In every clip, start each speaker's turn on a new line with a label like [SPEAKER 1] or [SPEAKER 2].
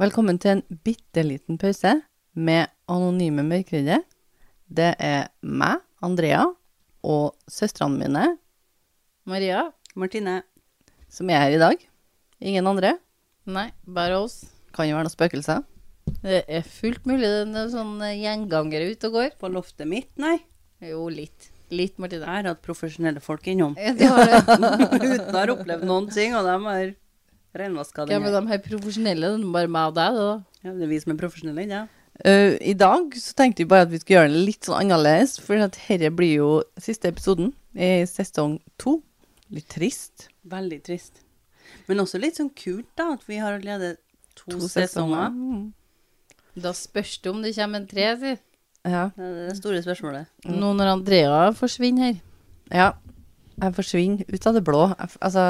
[SPEAKER 1] Velkommen til en bitte liten pause med Anonyme mørkredde. Det er meg, Andrea, og søstrene mine, Maria,
[SPEAKER 2] Martine.
[SPEAKER 1] som er her i dag. Ingen andre.
[SPEAKER 3] Nei, bare oss.
[SPEAKER 1] Kan jo være noen spøkelser.
[SPEAKER 3] Det er fullt mulig det er noen sånne gjengangere ute og går.
[SPEAKER 2] På loftet mitt, nei.
[SPEAKER 3] Jo, litt. Litt,
[SPEAKER 2] Jeg
[SPEAKER 3] Martine.
[SPEAKER 2] har hatt profesjonelle folk innom.
[SPEAKER 3] Ja, det var det.
[SPEAKER 2] Uten å ha opplevd noen ting, og de har renvaska det.
[SPEAKER 3] Hvem er de her profesjonelle? Det er bare meg og deg, det da.
[SPEAKER 2] Ja, det er vi som er profesjonelle, ja.
[SPEAKER 1] Eh, I dag så tenkte vi bare at vi skulle gjøre det litt sånn annerledes, for dette blir jo siste episoden i sesong to. Litt trist.
[SPEAKER 2] Veldig trist. Men også litt sånn kult, da, at vi har allerede to, sesonger.
[SPEAKER 1] Mm.
[SPEAKER 3] Da spørs det om det kommer en tre, si.
[SPEAKER 1] Ja.
[SPEAKER 2] Det er det store spørsmålet.
[SPEAKER 3] Nå når Andrea forsvinner her.
[SPEAKER 1] ja. Jeg forsvinner ut av det blå. Jeg, f- altså,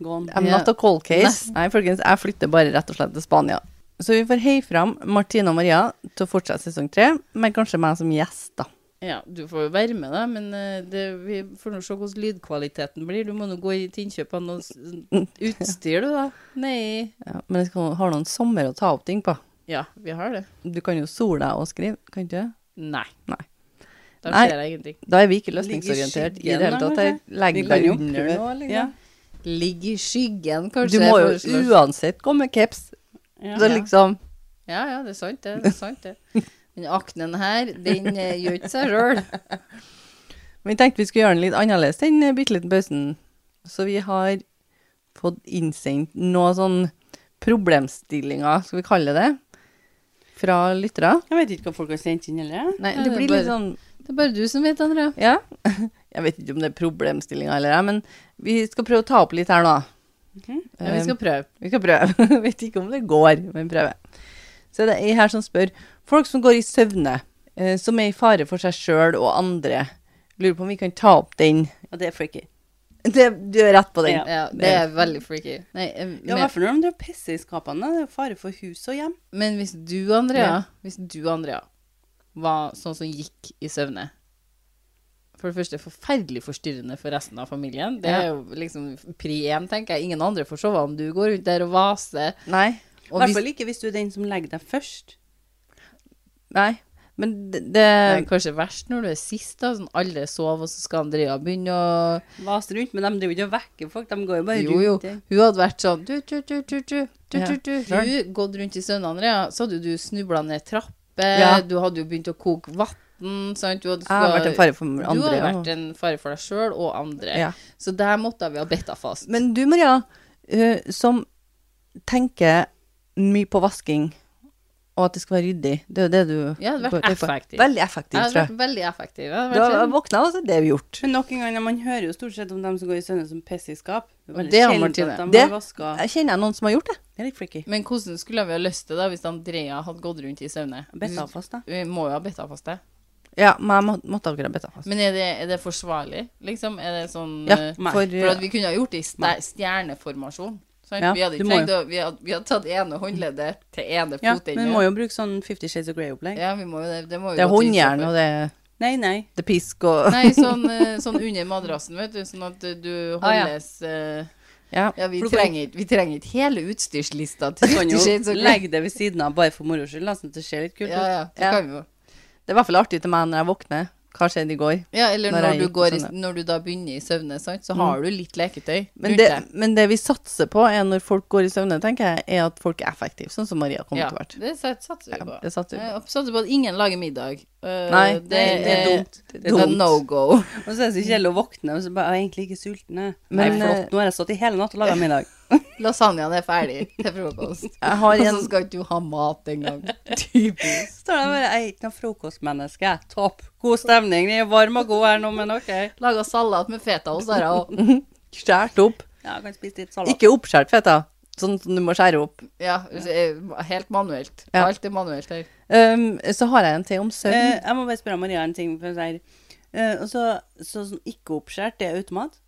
[SPEAKER 2] Gå an.
[SPEAKER 1] I'm
[SPEAKER 3] Ja.
[SPEAKER 1] not a cold case.
[SPEAKER 3] Nesten.
[SPEAKER 1] Nei, folkens, jeg flytter bare rett og slett til Spania. Så vi får heie fram Martine og Maria til å fortsette sesong tre, men kanskje meg som gjest, da.
[SPEAKER 3] Ja, du får jo være med, da, men eh, det, vi får nå se hvordan lydkvaliteten blir. Du må nå gå i- til innkjøp av noe s- utstyr, du, da. Nei.
[SPEAKER 1] Ja, men jeg skal, har noen sommer å ta opp ting på.
[SPEAKER 3] Ja, vi har det.
[SPEAKER 1] Du kan jo sole deg og skrive, kan du ikke?
[SPEAKER 3] Nei.
[SPEAKER 1] Nei.
[SPEAKER 3] Da
[SPEAKER 1] Nei.
[SPEAKER 3] ser jeg ingenting.
[SPEAKER 1] Da er vi ikke
[SPEAKER 2] Ligge i
[SPEAKER 1] løsningsorientert i det
[SPEAKER 2] skyggen,
[SPEAKER 1] hele
[SPEAKER 2] da,
[SPEAKER 1] tatt. Jeg
[SPEAKER 2] Vi
[SPEAKER 1] legger
[SPEAKER 2] kan
[SPEAKER 1] deg
[SPEAKER 2] jo
[SPEAKER 1] under
[SPEAKER 2] prøve.
[SPEAKER 1] nå, liksom.
[SPEAKER 2] Ja.
[SPEAKER 3] Ligg i skyggen,
[SPEAKER 1] Du
[SPEAKER 3] kanskje.
[SPEAKER 1] må
[SPEAKER 3] jeg
[SPEAKER 1] jo
[SPEAKER 3] foreslår.
[SPEAKER 1] uansett gå med caps.
[SPEAKER 2] Ja.
[SPEAKER 1] Så liksom
[SPEAKER 3] Ja, ja, det er sant, det. det, er sant, det. Men aknen her, den eh, gjør ikke seg sjøl.
[SPEAKER 1] Men vi tenkte vi skulle gjøre den litt annerledes den eh, bitte liten pausen. Så vi har fått innsendt noen sånn problemstillinger, skal vi kalle det, fra lyttere.
[SPEAKER 2] Jeg vet ikke hva folk har sendt inn, eller?
[SPEAKER 1] Nei,
[SPEAKER 3] Ja,
[SPEAKER 1] det
[SPEAKER 3] det
[SPEAKER 1] blir
[SPEAKER 3] er
[SPEAKER 1] litt
[SPEAKER 3] bare-
[SPEAKER 1] sånn
[SPEAKER 3] Det er bare du som vet, Andrea.
[SPEAKER 1] Ja. Jeg vet ikke om det er problemstillinger eller ei, men vi skal prøve å ta opp litt her nå.
[SPEAKER 2] Mhm.
[SPEAKER 3] Ja,
[SPEAKER 1] Um,
[SPEAKER 3] vi skal prøve.
[SPEAKER 1] Vi skal prøve. Vet ikke om det går, men prøve. Så det er ei her som spør. Folk som går i søvne, eh, som er i fare for seg sjøl og andre. Lurer på om vi kan ta opp den.
[SPEAKER 2] Ja, det er freaky.
[SPEAKER 1] Det, du er rett på den.
[SPEAKER 2] Ja.
[SPEAKER 3] Ja, det er veldig freaky. Nei, eh,
[SPEAKER 2] Ja, i
[SPEAKER 3] men,
[SPEAKER 2] hvert fall når de pisser i skapene. da. Det er jo fare for hus og hjem.
[SPEAKER 3] men hvis du, Andrea, hvis du, Andrea, var sånn som gikk i søvne For det første forferdelig forstyrrende for resten av familien. Det er jo liksom pri én, tenker jeg. Ingen andre får sove om du går rundt der og vaser.
[SPEAKER 1] Nei.
[SPEAKER 2] I
[SPEAKER 3] Og
[SPEAKER 2] hvert
[SPEAKER 3] hvis,
[SPEAKER 2] fall ikke hvis du er den som legger deg først.
[SPEAKER 1] Nei. Men det,
[SPEAKER 3] det
[SPEAKER 1] det
[SPEAKER 3] er kanskje verst når du er sist, da. Sånn alle sover, og så skal Andrea begynne å
[SPEAKER 2] Vaser rundt, men de driver ikke og vekker folk. De går jo bare
[SPEAKER 3] Jo, jo.
[SPEAKER 2] rundt. der.
[SPEAKER 3] Hun hadde vært sånn du, du, du, du, du, du,
[SPEAKER 1] Ja,
[SPEAKER 3] du, du.
[SPEAKER 1] klart.
[SPEAKER 3] Hun gått rundt i søvne, Andrea. Så hadde du snubla ned trapper.
[SPEAKER 1] Ja.
[SPEAKER 3] Du hadde jo begynt å koke vann. Sant? Du hadde
[SPEAKER 1] Jeg har vært en fare for
[SPEAKER 3] Du
[SPEAKER 1] andre.
[SPEAKER 3] hadde
[SPEAKER 1] ja.
[SPEAKER 3] vært en fare for deg sjøl og andre.
[SPEAKER 1] Ja.
[SPEAKER 3] Så der måtte vi ha bitt deg fast.
[SPEAKER 1] Men du, Maria, eh, som tenker mye på vasking, og at det skal være ryddig. Det er jo det du
[SPEAKER 3] jeg hadde
[SPEAKER 1] går-
[SPEAKER 3] vært effektiv.
[SPEAKER 1] Veldig effektiv,
[SPEAKER 3] Jeg hadde
[SPEAKER 1] tror jeg.
[SPEAKER 3] vært veldig effektiv. Jeg
[SPEAKER 1] Du
[SPEAKER 3] hadde vært
[SPEAKER 1] har
[SPEAKER 3] en-
[SPEAKER 1] våkna, og så er det gjort.
[SPEAKER 2] Men nok en gang, ja, man hører jo stort sett om dem som går i søvne som pisser i skap. Det er veldig
[SPEAKER 3] Det har
[SPEAKER 2] sjeldent
[SPEAKER 3] Martine.
[SPEAKER 2] at de
[SPEAKER 1] Det-
[SPEAKER 2] har vaska.
[SPEAKER 1] Jeg kjenner noen som har gjort det.
[SPEAKER 2] Det er litt freaky.
[SPEAKER 3] Men hvordan skulle vi ha løst det da hvis Andrea hadde gått rundt i søvne?
[SPEAKER 2] Bitt av fast, da.
[SPEAKER 3] Vi må jo ha bitt deg fast det.
[SPEAKER 1] Mm. Ja, men jeg må, måtte akkurat betta fast.
[SPEAKER 3] Men er det, er det forsvarlig, liksom? Er det sånn
[SPEAKER 1] Ja,
[SPEAKER 3] eh,
[SPEAKER 2] Nei,
[SPEAKER 1] for,
[SPEAKER 3] For at vi kunne ha gjort det i ste- stjerneformasjon. sant?
[SPEAKER 2] Ja,
[SPEAKER 3] vi, hadde
[SPEAKER 2] du
[SPEAKER 3] ikke
[SPEAKER 2] må jo.
[SPEAKER 3] trengt å, vi, hadde, vi hadde tatt ene håndleddet til ene
[SPEAKER 2] Ja,
[SPEAKER 3] fot
[SPEAKER 2] men må jo bruke sånn Fifty Shades of Grey-opplegg.
[SPEAKER 3] Ja, vi må jo det. Det, må jo
[SPEAKER 1] det er
[SPEAKER 3] gå til
[SPEAKER 1] håndjern,
[SPEAKER 3] for-
[SPEAKER 1] og det er
[SPEAKER 2] Nei, nei.
[SPEAKER 1] det er pisk og
[SPEAKER 3] Nei, sånn, eh, sånn under madrassen, vet du. Sånn at eh, du
[SPEAKER 1] Ah, ja.
[SPEAKER 3] holdes eh,
[SPEAKER 1] Ja.
[SPEAKER 3] ja. vi
[SPEAKER 2] For du kan-
[SPEAKER 3] trenger ikke vi trenger ikke hele utstyrslista
[SPEAKER 2] Du
[SPEAKER 3] til
[SPEAKER 2] kan
[SPEAKER 3] sånn 50 Shades
[SPEAKER 2] jo
[SPEAKER 3] of Grey.
[SPEAKER 2] legge det ved siden av bare for moro skyld, da, sånn at det ser litt kult
[SPEAKER 3] Ja,
[SPEAKER 2] ut.
[SPEAKER 3] ja, det
[SPEAKER 1] Ja.
[SPEAKER 3] kan vi jo.
[SPEAKER 1] Det er i hvert fall artig til meg når jeg våkner. Hva skjedde i går?
[SPEAKER 3] Ja, eller
[SPEAKER 1] Når
[SPEAKER 3] når,
[SPEAKER 1] jeg
[SPEAKER 3] du
[SPEAKER 1] gikk på
[SPEAKER 3] går, i-
[SPEAKER 1] sånne. Mm.
[SPEAKER 3] når du da begynner i søvne, sant, så har du litt leketøy
[SPEAKER 1] Men
[SPEAKER 3] rundt
[SPEAKER 1] det,
[SPEAKER 3] deg.
[SPEAKER 1] men det vi satser på er når folk går i søvne, tenker jeg, er at folk er effektive, sånn som Maria kommer
[SPEAKER 3] Ja,
[SPEAKER 1] til å være.
[SPEAKER 3] det sat- satser vi
[SPEAKER 1] Ja,
[SPEAKER 3] på.
[SPEAKER 1] det satser vi på.
[SPEAKER 3] Jeg satser på at ingen lager middag. Eh,
[SPEAKER 1] Nei,
[SPEAKER 2] det- det er dumt.
[SPEAKER 3] Det,
[SPEAKER 1] Det er
[SPEAKER 3] er
[SPEAKER 1] dumt.
[SPEAKER 3] no go.
[SPEAKER 2] Og så er det så kjedelig å våkne og så bare «Jeg er egentlig ikke sulten, jeg. Nei,
[SPEAKER 1] Men, eh,
[SPEAKER 2] flott, nå har jeg stått i hele natt og laga middag.
[SPEAKER 3] Lasagnaen er ferdig til frokost.
[SPEAKER 1] Jeg har
[SPEAKER 3] Og så
[SPEAKER 1] en,
[SPEAKER 3] skal ikke du ha mat engang. Typisk.
[SPEAKER 2] Så står det bare Jeg er ikke noe frokostmenneske. jeg. Topp. God stemning. Den er varm og god her nå, men OK.
[SPEAKER 3] Laga salat med feta og Sara og
[SPEAKER 1] skjært opp.
[SPEAKER 2] Ja, jeg kan spise litt salat.
[SPEAKER 1] Ikke oppskjært feta, sånn som du må skjære opp.
[SPEAKER 3] Ja, helt manuelt.
[SPEAKER 1] Ja.
[SPEAKER 3] Alt er manuelt her.
[SPEAKER 1] Um, så har jeg en til om søvn.
[SPEAKER 2] Eh, jeg må bare spørre Maria en ting. For å si her. Eh, og så, så sånn ikke oppskjært, det er automat?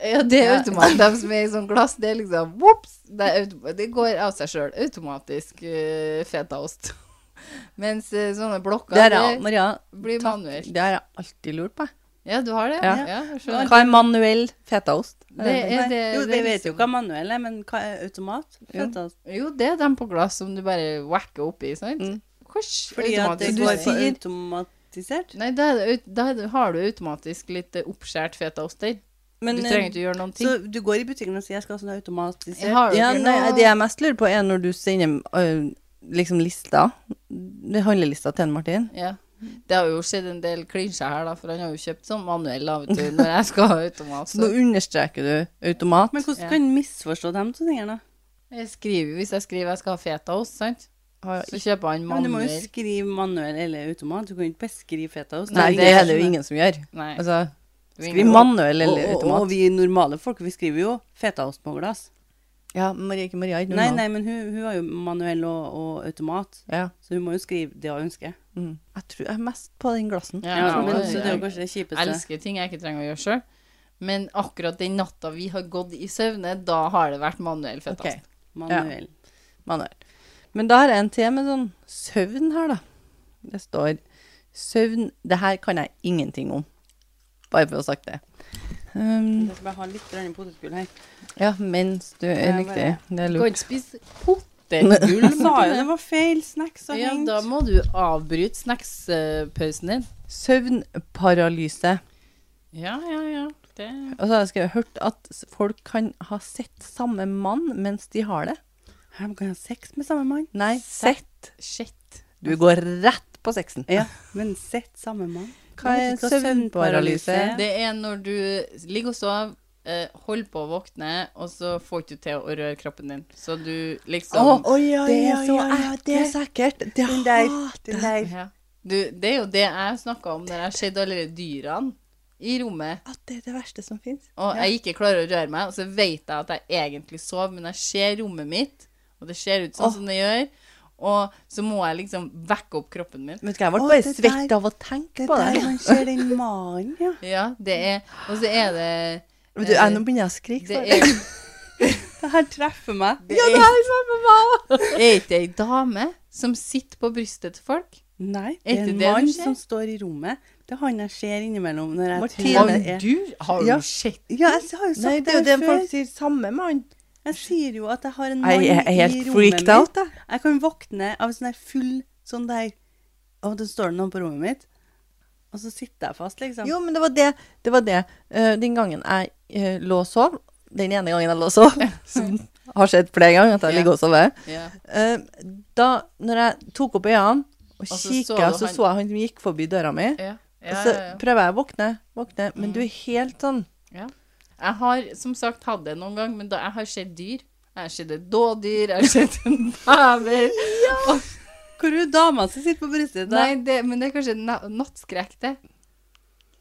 [SPEAKER 3] Ja, det er
[SPEAKER 1] Ja.
[SPEAKER 3] automat. De som er i sånn glass, det er liksom whoops, det, er autom- det går av seg sjøl. Automatisk eh, fetaost. Mens eh, sånne blokker
[SPEAKER 1] det er jeg, Maria,
[SPEAKER 3] blir
[SPEAKER 1] takk.
[SPEAKER 3] manuelt.
[SPEAKER 1] det har jeg alltid lurt på.
[SPEAKER 3] Ja, du har det?
[SPEAKER 1] Ja.
[SPEAKER 3] Ja, jeg skjønner.
[SPEAKER 1] Hva er manuell fetaost? Eh,
[SPEAKER 3] Det er det,
[SPEAKER 2] jo,
[SPEAKER 3] det
[SPEAKER 2] vi
[SPEAKER 3] er
[SPEAKER 2] vet jo
[SPEAKER 3] liksom-
[SPEAKER 2] hva manuell er, men hva er automat?
[SPEAKER 1] Jo.
[SPEAKER 2] Skjønte at-
[SPEAKER 3] Jo, det er dem på glass som du bare wacker oppi, sant?
[SPEAKER 1] Mm.
[SPEAKER 3] Hvordan
[SPEAKER 2] Fordi at det
[SPEAKER 3] automatisk-
[SPEAKER 2] går
[SPEAKER 3] Du
[SPEAKER 2] på
[SPEAKER 3] sier-
[SPEAKER 2] automatisert.
[SPEAKER 3] Nei, da, er det au- da er det- har du automatisk litt eh, oppskjært fetaost der.
[SPEAKER 2] Men,
[SPEAKER 3] Du
[SPEAKER 2] eh,
[SPEAKER 3] trenger ikke gjøre noen ting.
[SPEAKER 2] Så du går i butikken og sier 'jeg skal ha sånn automatisert'?
[SPEAKER 3] Jeg har jo
[SPEAKER 1] Ja,
[SPEAKER 3] ikke
[SPEAKER 1] nei,
[SPEAKER 3] noe-
[SPEAKER 1] det jeg mest lurer på, er når du sender øh, liksom lista, det handlelista til en Martin.
[SPEAKER 3] Ja. Det har jo skjedd en del klinsjer her, da, for han har jo kjøpt sånn manuell da, vet du, når jeg skal ha automat.
[SPEAKER 1] Så nå
[SPEAKER 3] Så
[SPEAKER 1] understreker du automat.
[SPEAKER 2] Men hvordan
[SPEAKER 3] Ja.
[SPEAKER 2] kan en misforstå de to tingene? da?
[SPEAKER 3] jeg skriver, jo- hvis jeg skriver jeg skal ha fetaost, sant,
[SPEAKER 1] Har jeg
[SPEAKER 3] så kjøper han
[SPEAKER 2] Ja, Men du må jo
[SPEAKER 3] manuell.
[SPEAKER 2] skrive manuell eller automat. Du kan jo ikke beskrive fetaost.
[SPEAKER 1] Nei, det er det jo ingen som gjør.
[SPEAKER 3] Nei.
[SPEAKER 1] Altså,
[SPEAKER 3] vi-
[SPEAKER 1] skriv manuell eller
[SPEAKER 2] og, og, og
[SPEAKER 1] automat.
[SPEAKER 2] vi normale folk, vi skriver jo fetaost på glass.
[SPEAKER 1] Ja, Marie, ikke Maria, ikke
[SPEAKER 2] Nei,
[SPEAKER 1] normal.
[SPEAKER 2] nei, men hun, hun har jo manuell og, og automat,
[SPEAKER 1] Ja.
[SPEAKER 2] så hun må jo skrive det hun ønsker.
[SPEAKER 1] Mm. Jeg tror jeg er mest på den glassen.
[SPEAKER 3] Ja,
[SPEAKER 2] Ja, men,
[SPEAKER 3] det-
[SPEAKER 2] så det er jo kanskje det
[SPEAKER 3] Jeg
[SPEAKER 2] kjipeste.
[SPEAKER 3] elsker ting jeg ikke trenger å gjøre sjøl. Men akkurat den natta vi har gått i søvne, da har det vært manuell altså. fetaost.
[SPEAKER 1] Ok.
[SPEAKER 2] Manuell.
[SPEAKER 1] manuell. Men da har jeg en til med sånn søvn her, da. Det står søvn Det her kan jeg ingenting om. Bare for å ha sagt det. Um,
[SPEAKER 2] Jeg skal bare ha litt grann potetgull her.
[SPEAKER 1] ja, mens du er
[SPEAKER 2] Ja,
[SPEAKER 1] riktig. Det er
[SPEAKER 3] Du kan
[SPEAKER 1] lurt.
[SPEAKER 3] ikke spise potetgull.
[SPEAKER 2] Hun sa jo det var feil snacks og
[SPEAKER 3] Ja,
[SPEAKER 2] hengt.
[SPEAKER 3] da må du avbryte snackspausen din.
[SPEAKER 1] Søvnparalyse.
[SPEAKER 3] Ja, ja, ja. Det
[SPEAKER 1] Og så har jeg skrevet hørt at s- folk kan ha sett samme mann mens de har det.
[SPEAKER 2] Her må kan ha sex med samme mann.
[SPEAKER 1] Nei, sett.
[SPEAKER 3] Shit.
[SPEAKER 1] Du går rett på sexen.
[SPEAKER 2] Ja, men sett samme mann.
[SPEAKER 1] Hva er
[SPEAKER 2] Jeg vet ikke
[SPEAKER 1] søvnparalyse?
[SPEAKER 2] søvnparalyse er.
[SPEAKER 3] Det er når du ligger og sover, eh, holder på å våkne, og så får du ikke til å røre kroppen din. Så du liksom
[SPEAKER 1] ja,
[SPEAKER 2] Det er så ekkelt.
[SPEAKER 1] Det er så ekkelt. Det
[SPEAKER 2] Den der,
[SPEAKER 1] hater
[SPEAKER 2] den der.
[SPEAKER 3] ja. du, Det er jo det jeg snakka om når jeg har sett alle de dyrene i rommet,
[SPEAKER 1] jeg. Det er det verste som fins.
[SPEAKER 3] og jeg ikke klarer å røre meg, og så vet jeg at jeg egentlig sover, men jeg ser rommet mitt, og det ser ut sånn som det gjør, og så må jeg liksom vekke opp kroppen min.
[SPEAKER 1] Vet du hva, jeg ble
[SPEAKER 2] Å,
[SPEAKER 1] bare
[SPEAKER 2] det
[SPEAKER 1] svett
[SPEAKER 2] der-
[SPEAKER 1] av å tenke
[SPEAKER 2] Det
[SPEAKER 1] på
[SPEAKER 2] der
[SPEAKER 1] det.
[SPEAKER 2] man ser den mannen, ja.
[SPEAKER 3] Ja, det er Og så er det
[SPEAKER 1] Vet du, jeg, nå begynner jeg å skrike.
[SPEAKER 3] Det
[SPEAKER 1] så-
[SPEAKER 3] er
[SPEAKER 2] Det her treffer meg.
[SPEAKER 3] Ja, det er samme meg! Er ikke det ei dame som sitter på brystet til folk?
[SPEAKER 2] Nei, det
[SPEAKER 3] Er
[SPEAKER 2] er
[SPEAKER 3] ikke
[SPEAKER 2] en
[SPEAKER 3] det
[SPEAKER 2] mann
[SPEAKER 3] du ser?
[SPEAKER 2] som står i rommet. Det er han jeg ser innimellom når jeg
[SPEAKER 1] Martine.
[SPEAKER 2] tror
[SPEAKER 3] Har
[SPEAKER 2] det er
[SPEAKER 3] du, har du
[SPEAKER 1] Ja.
[SPEAKER 3] sett
[SPEAKER 2] Ja, jeg har
[SPEAKER 1] Nei,
[SPEAKER 2] jo
[SPEAKER 1] det
[SPEAKER 2] sagt det,
[SPEAKER 1] er jo det
[SPEAKER 2] før.
[SPEAKER 1] folk sier. Samme mann.
[SPEAKER 2] Jeg sier jo at jeg har en mann
[SPEAKER 1] Jeg er
[SPEAKER 2] i
[SPEAKER 1] helt
[SPEAKER 2] rommet
[SPEAKER 1] freaked
[SPEAKER 2] mitt.
[SPEAKER 1] out, jeg.
[SPEAKER 2] Jeg kan våkne av en sånn der full sånn der Å, det står noen på rommet mitt. Og så sitter jeg fast, liksom.
[SPEAKER 1] Jo, men det var det. det, var det. Eh, den gangen jeg eh, lå og sov, den ene gangen jeg lå og sov, som har skjedd flere ganger at jeg
[SPEAKER 3] Ja.
[SPEAKER 1] ligger og sover,
[SPEAKER 3] ja.
[SPEAKER 1] Eh, da når jeg tok opp øynene og
[SPEAKER 3] Altså, så så
[SPEAKER 1] kikka,
[SPEAKER 3] du
[SPEAKER 1] så
[SPEAKER 3] han-
[SPEAKER 1] så jeg han som gikk forbi døra mi.
[SPEAKER 3] Ja.
[SPEAKER 1] Og
[SPEAKER 3] Ja,
[SPEAKER 1] så
[SPEAKER 3] ja, ja. Mm.
[SPEAKER 1] prøver jeg å våkne, våkne, men du er helt sånn
[SPEAKER 3] Jeg har som sagt hatt det noen gang, men da jeg har sett dyr Jeg har sett et dådyr, jeg har sett en bever
[SPEAKER 2] Hvor er jo dama som sitter på brystet? da?
[SPEAKER 3] Nei, det, men det er kanskje na nattskrekk, det.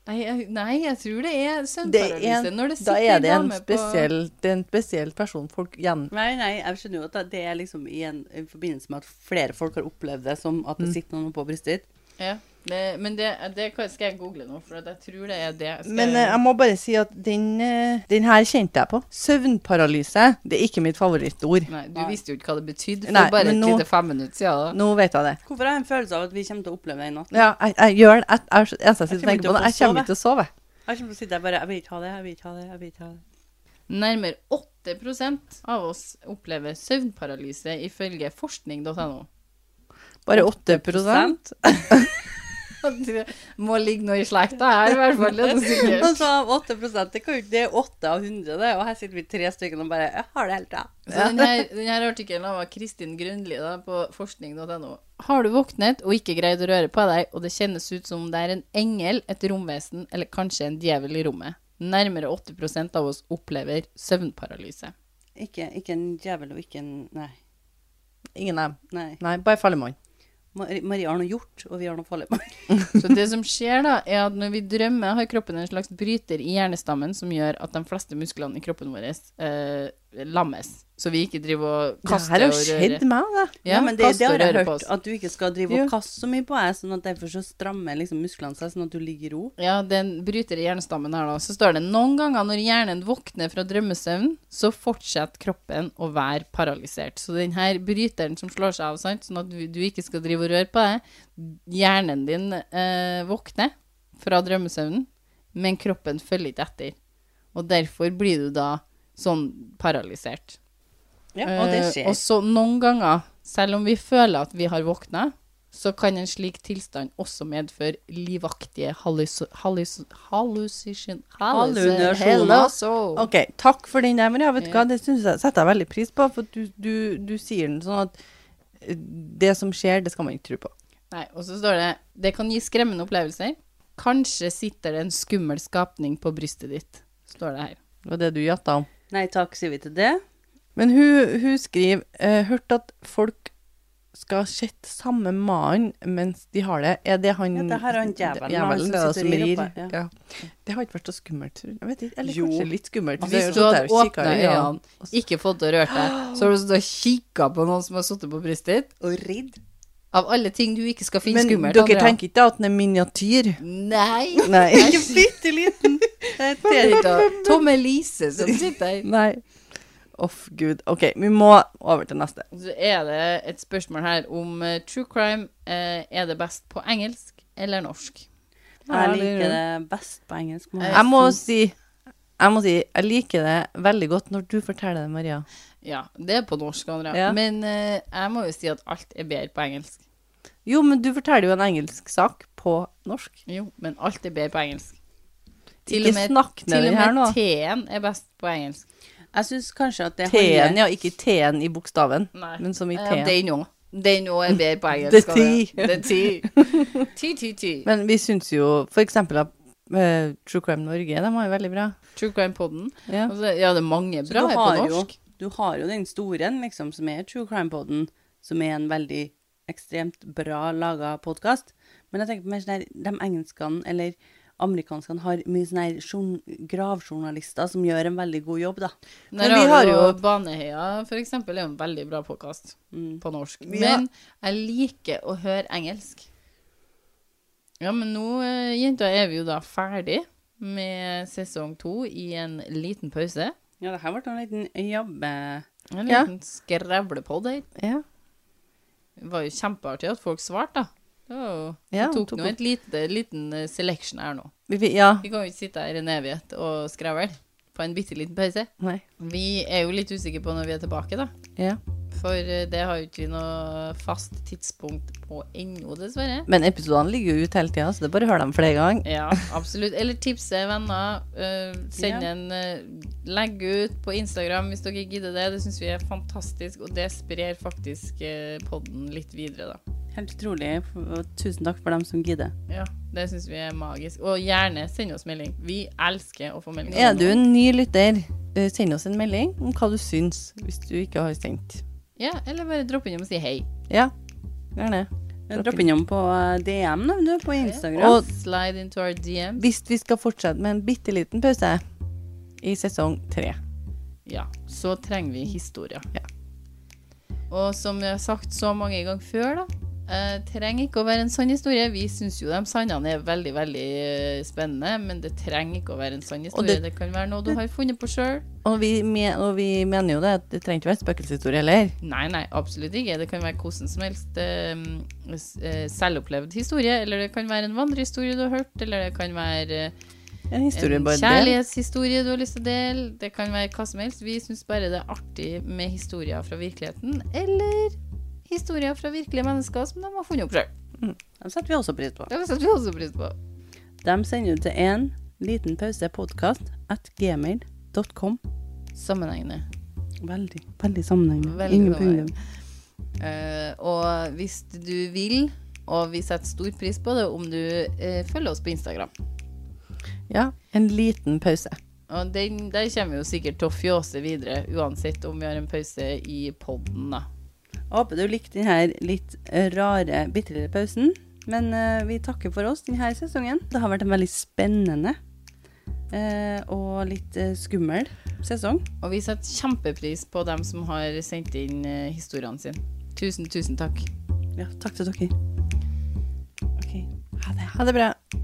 [SPEAKER 3] Nei jeg, nei, jeg tror det er
[SPEAKER 1] det er en,
[SPEAKER 3] søvnparalyse. Når det
[SPEAKER 1] Da
[SPEAKER 3] sitter
[SPEAKER 1] er det en
[SPEAKER 3] dame på-
[SPEAKER 1] spesiell, det er en spesiell person folk gjen...
[SPEAKER 2] Nei, nei, jeg skjønner jo at det er liksom i, en, i forbindelse med at flere folk har opplevd det som at det
[SPEAKER 1] Mm.
[SPEAKER 2] sitter noen på brystet.
[SPEAKER 3] Ja, det, men det, det kan- skal jeg google nå, for at jeg tror det er det. Skal
[SPEAKER 1] Men eh, jeg må bare si at den, eh, den her kjente jeg på. Søvnparalyse, det er ikke mitt favorittord.
[SPEAKER 3] Nei, du
[SPEAKER 2] Nei.
[SPEAKER 3] visste jo ikke hva det betydde for
[SPEAKER 1] Nei,
[SPEAKER 3] bare et
[SPEAKER 1] men nå-
[SPEAKER 3] lite fem minutter siden. da.
[SPEAKER 1] Nå vet jeg det.
[SPEAKER 2] Hvorfor har jeg en følelse av at vi kommer til å oppleve det i natt?
[SPEAKER 1] Ja, jeg, jeg gjør det. Jeg, jeg, jeg, jeg,
[SPEAKER 2] Jeg kommer
[SPEAKER 1] tenker på det. Jeg
[SPEAKER 2] ikke til å få
[SPEAKER 1] kommer ikke til å sove.
[SPEAKER 2] Jeg kommer til å sitte der bare Jeg vil ikke ha det, jeg vil ikke ha det, jeg vil ikke ha det.
[SPEAKER 3] Nærmere 8 av oss opplever søvnparalyse ifølge forskning.no.
[SPEAKER 1] Bare 8
[SPEAKER 3] Det Må ligge noe i slekta her, i hvert fall. Det er noe sikkert.
[SPEAKER 2] Men så av 8 det, kan jo ikke- det er 8 av 100, det, og her sitter vi tre stykker og bare Jeg har det hele tida.
[SPEAKER 3] Så den her, den her artikkelen var Kristin Grønli da, på forskning.no. Har du våknet og ikke greid å røre på deg, og det kjennes ut som om det er en engel, et romvesen eller kanskje en djevel i rommet? Nærmere 80 av oss opplever søvnparalyse.
[SPEAKER 2] Ikke, ikke en djevel og ikke en Nei.
[SPEAKER 1] Ingen av dem.
[SPEAKER 2] nei.
[SPEAKER 1] Nei, bare fallemann.
[SPEAKER 2] Mari- Marie har noe gjort, og vi har noe farlig på
[SPEAKER 3] Så det som skjer da, er at når vi drømmer, har kroppen en slags bryter i hjernestammen som gjør at de fleste musklene i kroppen vår eh, lammes. Så vi ikke driver og
[SPEAKER 1] Det
[SPEAKER 3] kaster
[SPEAKER 1] her har
[SPEAKER 3] og
[SPEAKER 1] jo
[SPEAKER 3] rører.
[SPEAKER 1] skjedd meg, det.
[SPEAKER 3] Ja,
[SPEAKER 2] men det, det
[SPEAKER 3] kaster
[SPEAKER 2] har
[SPEAKER 3] og
[SPEAKER 2] jeg
[SPEAKER 3] rører på
[SPEAKER 2] hørt,
[SPEAKER 3] oss.
[SPEAKER 2] at du ikke skal drive
[SPEAKER 1] Ja.
[SPEAKER 2] og kaste så mye på deg, sånn at derfor så strammer liksom musklene seg, sånn at du ligger i ro.
[SPEAKER 3] Ja, den bryter i hjernestammen her da. Så står det noen ganger når hjernen våkner fra drømmesøvn, så fortsetter kroppen å være paralysert. Så den her bryteren som slår seg av, sant? sånn at du, du ikke skal drive og røre på deg, hjernen din eh, våkner fra drømmesøvnen, men kroppen følger ikke etter. Og derfor blir du da sånn paralysert.
[SPEAKER 2] Ja, og det
[SPEAKER 3] Eh,
[SPEAKER 2] skjer.
[SPEAKER 3] og så noen ganger, selv om vi føler at vi har våkna, så kan en slik tilstand også medføre livaktige hallusi- hallusi- hallusin...
[SPEAKER 2] Hallusinasjoner.
[SPEAKER 3] Hallusinasjoner.
[SPEAKER 1] Ok, takk for den der, men ja, vet du
[SPEAKER 3] Ja.
[SPEAKER 1] hva, det synes jeg, setter jeg veldig pris på, for du, du, du sier den sånn at eh, det som skjer, det skal man ikke tro på.
[SPEAKER 3] Nei, og så står det Det kan gi skremmende opplevelser. Kanskje sitter det en skummel skapning på brystet ditt, står det her.
[SPEAKER 1] Det var det du gjatta om.
[SPEAKER 2] Nei takk, sier vi til det.
[SPEAKER 1] Men hun, hun skriver, eh, hørt at folk skal sett samme mann mens de har det. Er det han...
[SPEAKER 2] Ja, det her er han djevelen, han som
[SPEAKER 1] Djevelen, det er det som
[SPEAKER 2] sitter og rir
[SPEAKER 1] rir.
[SPEAKER 2] oppe, ja.
[SPEAKER 1] Ja. Det har ikke vært så skummelt, tror jeg. Jeg vet ikke, eller
[SPEAKER 2] Jo.
[SPEAKER 1] kanskje litt skummelt.
[SPEAKER 3] Hvis du hadde åpna øynene, ikke fått til å røre deg, så har du stått og kikka på noen som har sittet på brystet ditt
[SPEAKER 2] Og ridd.
[SPEAKER 3] Av alle ting du ikke skal finne
[SPEAKER 1] Men
[SPEAKER 3] skummelt.
[SPEAKER 1] dere
[SPEAKER 3] Andrea.
[SPEAKER 1] tenker ikke at den er miniatyr?
[SPEAKER 3] Nei!
[SPEAKER 1] Nei.
[SPEAKER 2] Ikke bitte liten. Det er
[SPEAKER 3] Det
[SPEAKER 2] Terje.
[SPEAKER 3] er ikke Tomme Lise som sitter her.
[SPEAKER 1] Nei. Off, Gud. Ok, vi må over til neste.
[SPEAKER 3] Så er det et spørsmål her om eh, true crime eh, er det best på engelsk eller norsk.
[SPEAKER 2] Jeg liker det best på engelsk. må jeg
[SPEAKER 1] Jeg må
[SPEAKER 2] si.
[SPEAKER 1] si jeg må si, jeg liker det veldig godt når du forteller det, Maria.
[SPEAKER 3] Ja, det er på norsk, Andrea.
[SPEAKER 1] Ja.
[SPEAKER 3] Men eh, jeg må jo si at alt er bedre på engelsk.
[SPEAKER 1] Jo, men du forteller jo en engelsk sak på norsk.
[SPEAKER 3] Jo, men alt er bedre på engelsk.
[SPEAKER 1] Ikke snakk ned
[SPEAKER 3] til og
[SPEAKER 1] den her
[SPEAKER 3] med
[SPEAKER 1] nå.
[SPEAKER 3] T-en er best på engelsk.
[SPEAKER 2] Jeg syns kanskje at det
[SPEAKER 1] T-en,
[SPEAKER 2] handler
[SPEAKER 1] ja, ikke T-en i bokstaven,
[SPEAKER 3] Nei. Eh,
[SPEAKER 1] men som i
[SPEAKER 3] Ja,
[SPEAKER 1] T-en.
[SPEAKER 3] Den òg. Den òg er bedre på
[SPEAKER 1] Det
[SPEAKER 3] engelsk.
[SPEAKER 1] er
[SPEAKER 3] Andrea.
[SPEAKER 1] ti.
[SPEAKER 3] Det er ti. Ti, ti, ti.
[SPEAKER 1] Men vi syns jo for eksempel at eh, True Crime Norge, de var jo veldig bra.
[SPEAKER 3] True Crime-poden.
[SPEAKER 1] Ja.
[SPEAKER 3] Ja, det er mange
[SPEAKER 2] Så
[SPEAKER 3] bra
[SPEAKER 2] du
[SPEAKER 3] her på
[SPEAKER 2] har jo,
[SPEAKER 3] norsk.
[SPEAKER 2] du har jo den store en, liksom, som er True Crime Poden, som er en veldig ekstremt bra laga podkast. Men jeg tenker på mer sånn her, de engelskene eller amerikanskene har mye sånne her journ- gravjournalister som gjør en veldig god jobb, da.
[SPEAKER 1] Men
[SPEAKER 3] Der
[SPEAKER 1] vi
[SPEAKER 3] har,
[SPEAKER 1] har
[SPEAKER 3] du jo
[SPEAKER 1] jo-
[SPEAKER 3] Baneheia, for eksempel, er jo en veldig bra podkast
[SPEAKER 2] Mm.
[SPEAKER 3] på norsk.
[SPEAKER 1] Vi har-
[SPEAKER 3] Men jeg liker å høre engelsk. Ja, men nå, eh, jenter, er vi jo da ferdig med sesong to i en liten pause.
[SPEAKER 2] Ja, det her ble en liten jobbe...
[SPEAKER 3] En
[SPEAKER 1] Ja.
[SPEAKER 3] liten skrevlepodd her.
[SPEAKER 1] Ja.
[SPEAKER 3] Det var jo kjempeartig at folk svarte, da. Det var jo,
[SPEAKER 1] Ja,
[SPEAKER 3] vi tok,
[SPEAKER 1] tok
[SPEAKER 3] nå
[SPEAKER 1] opp.
[SPEAKER 3] et lite, liten eh, selection her nå.
[SPEAKER 1] Vi, vi, ja.
[SPEAKER 3] Vi kan jo ikke sitte her en evighet og skravle på en bitte liten pause.
[SPEAKER 1] Nei.
[SPEAKER 3] Vi er jo litt usikre på når vi er tilbake, da.
[SPEAKER 1] Ja.
[SPEAKER 3] For eh, det har jo ikke vi noe fast tidspunkt på ennå, dessverre.
[SPEAKER 1] Men episodene ligger jo ute hele tida, så det er bare å høre dem flere ganger.
[SPEAKER 3] Ja, absolutt. Eller tipse venner. eh, Send
[SPEAKER 2] Ja.
[SPEAKER 3] en eh, Legg ut på Instagram hvis dere gidder det. Det syns vi er fantastisk, og det sprer faktisk eh, podden litt videre, da.
[SPEAKER 2] Helt utrolig. og Tusen takk for dem som gidder.
[SPEAKER 3] Ja, Det syns vi er magisk. Og gjerne send oss melding. Vi elsker å få meldinger.
[SPEAKER 1] Er du en ny lytter, eh, send oss en melding om hva du syns, hvis du ikke har sendt.
[SPEAKER 3] Ja, eller bare dropp innom og si hei.
[SPEAKER 1] Ja, gjerne.
[SPEAKER 2] Dropp innom på eh, DM nå, du, på Instagram.
[SPEAKER 1] Og-
[SPEAKER 3] Slide into our DM.
[SPEAKER 1] Hvis vi skal fortsette med en bitte liten pause i sesong tre.
[SPEAKER 3] Ja, så trenger vi historier.
[SPEAKER 1] Ja.
[SPEAKER 3] Og som jeg har sagt så mange ganger før, da, eh, trenger ikke å være en sann historie. Vi syns jo de sannene er veldig, veldig eh, spennende, men det trenger ikke å være en sann historie.
[SPEAKER 1] det-
[SPEAKER 3] Det, kan være noe du har funnet på sjøl.
[SPEAKER 1] Og vi, me- og vi mener jo det, at det trenger ikke være spøkelseshistorie heller.
[SPEAKER 3] Nei, nei, absolutt ikke. Det kan være hvordan som helst eh, s- eh, selvopplevd historie, eller det kan være en vandrehistorie du har hørt, eller det kan være eh,
[SPEAKER 1] En historie
[SPEAKER 3] en
[SPEAKER 1] bare det.
[SPEAKER 3] kjærlighetshistorie du har lyst til å dele. Det kan være hva som helst. Vi syns bare det er artig med historier fra virkeligheten, eller historier fra virkelige mennesker som de har funnet opp sjøl.
[SPEAKER 2] Dem setter vi også pris på.
[SPEAKER 3] Det setter vi også pris på.
[SPEAKER 2] De sender ut til en liten pause podkast at gmail.com.
[SPEAKER 3] Sammenhengende.
[SPEAKER 2] Veldig, veldig sammenhengende.
[SPEAKER 3] Veldig
[SPEAKER 2] Ingen
[SPEAKER 3] sammenhengende.
[SPEAKER 2] punktum.
[SPEAKER 3] Eh, og hvis du vil, og vi setter stor pris på det, om du eh, følger oss på Instagram.
[SPEAKER 1] Ja, en liten pause.
[SPEAKER 3] Og den, der kommer vi jo sikkert til å fjåse videre, uansett om vi har en pause i podden, da.
[SPEAKER 2] Jeg Håper du likte denne litt eh, rare, bitte lille pausen. Men eh, vi takker for oss denne sesongen. Det har vært en veldig spennende eh, og litt eh, skummel sesong.
[SPEAKER 3] Og vi setter kjempepris på dem som har sendt inn eh, historiene sine. Tusen, tusen takk.
[SPEAKER 2] Ja, takk til dere. Ok, ha det.
[SPEAKER 1] Ha det bra.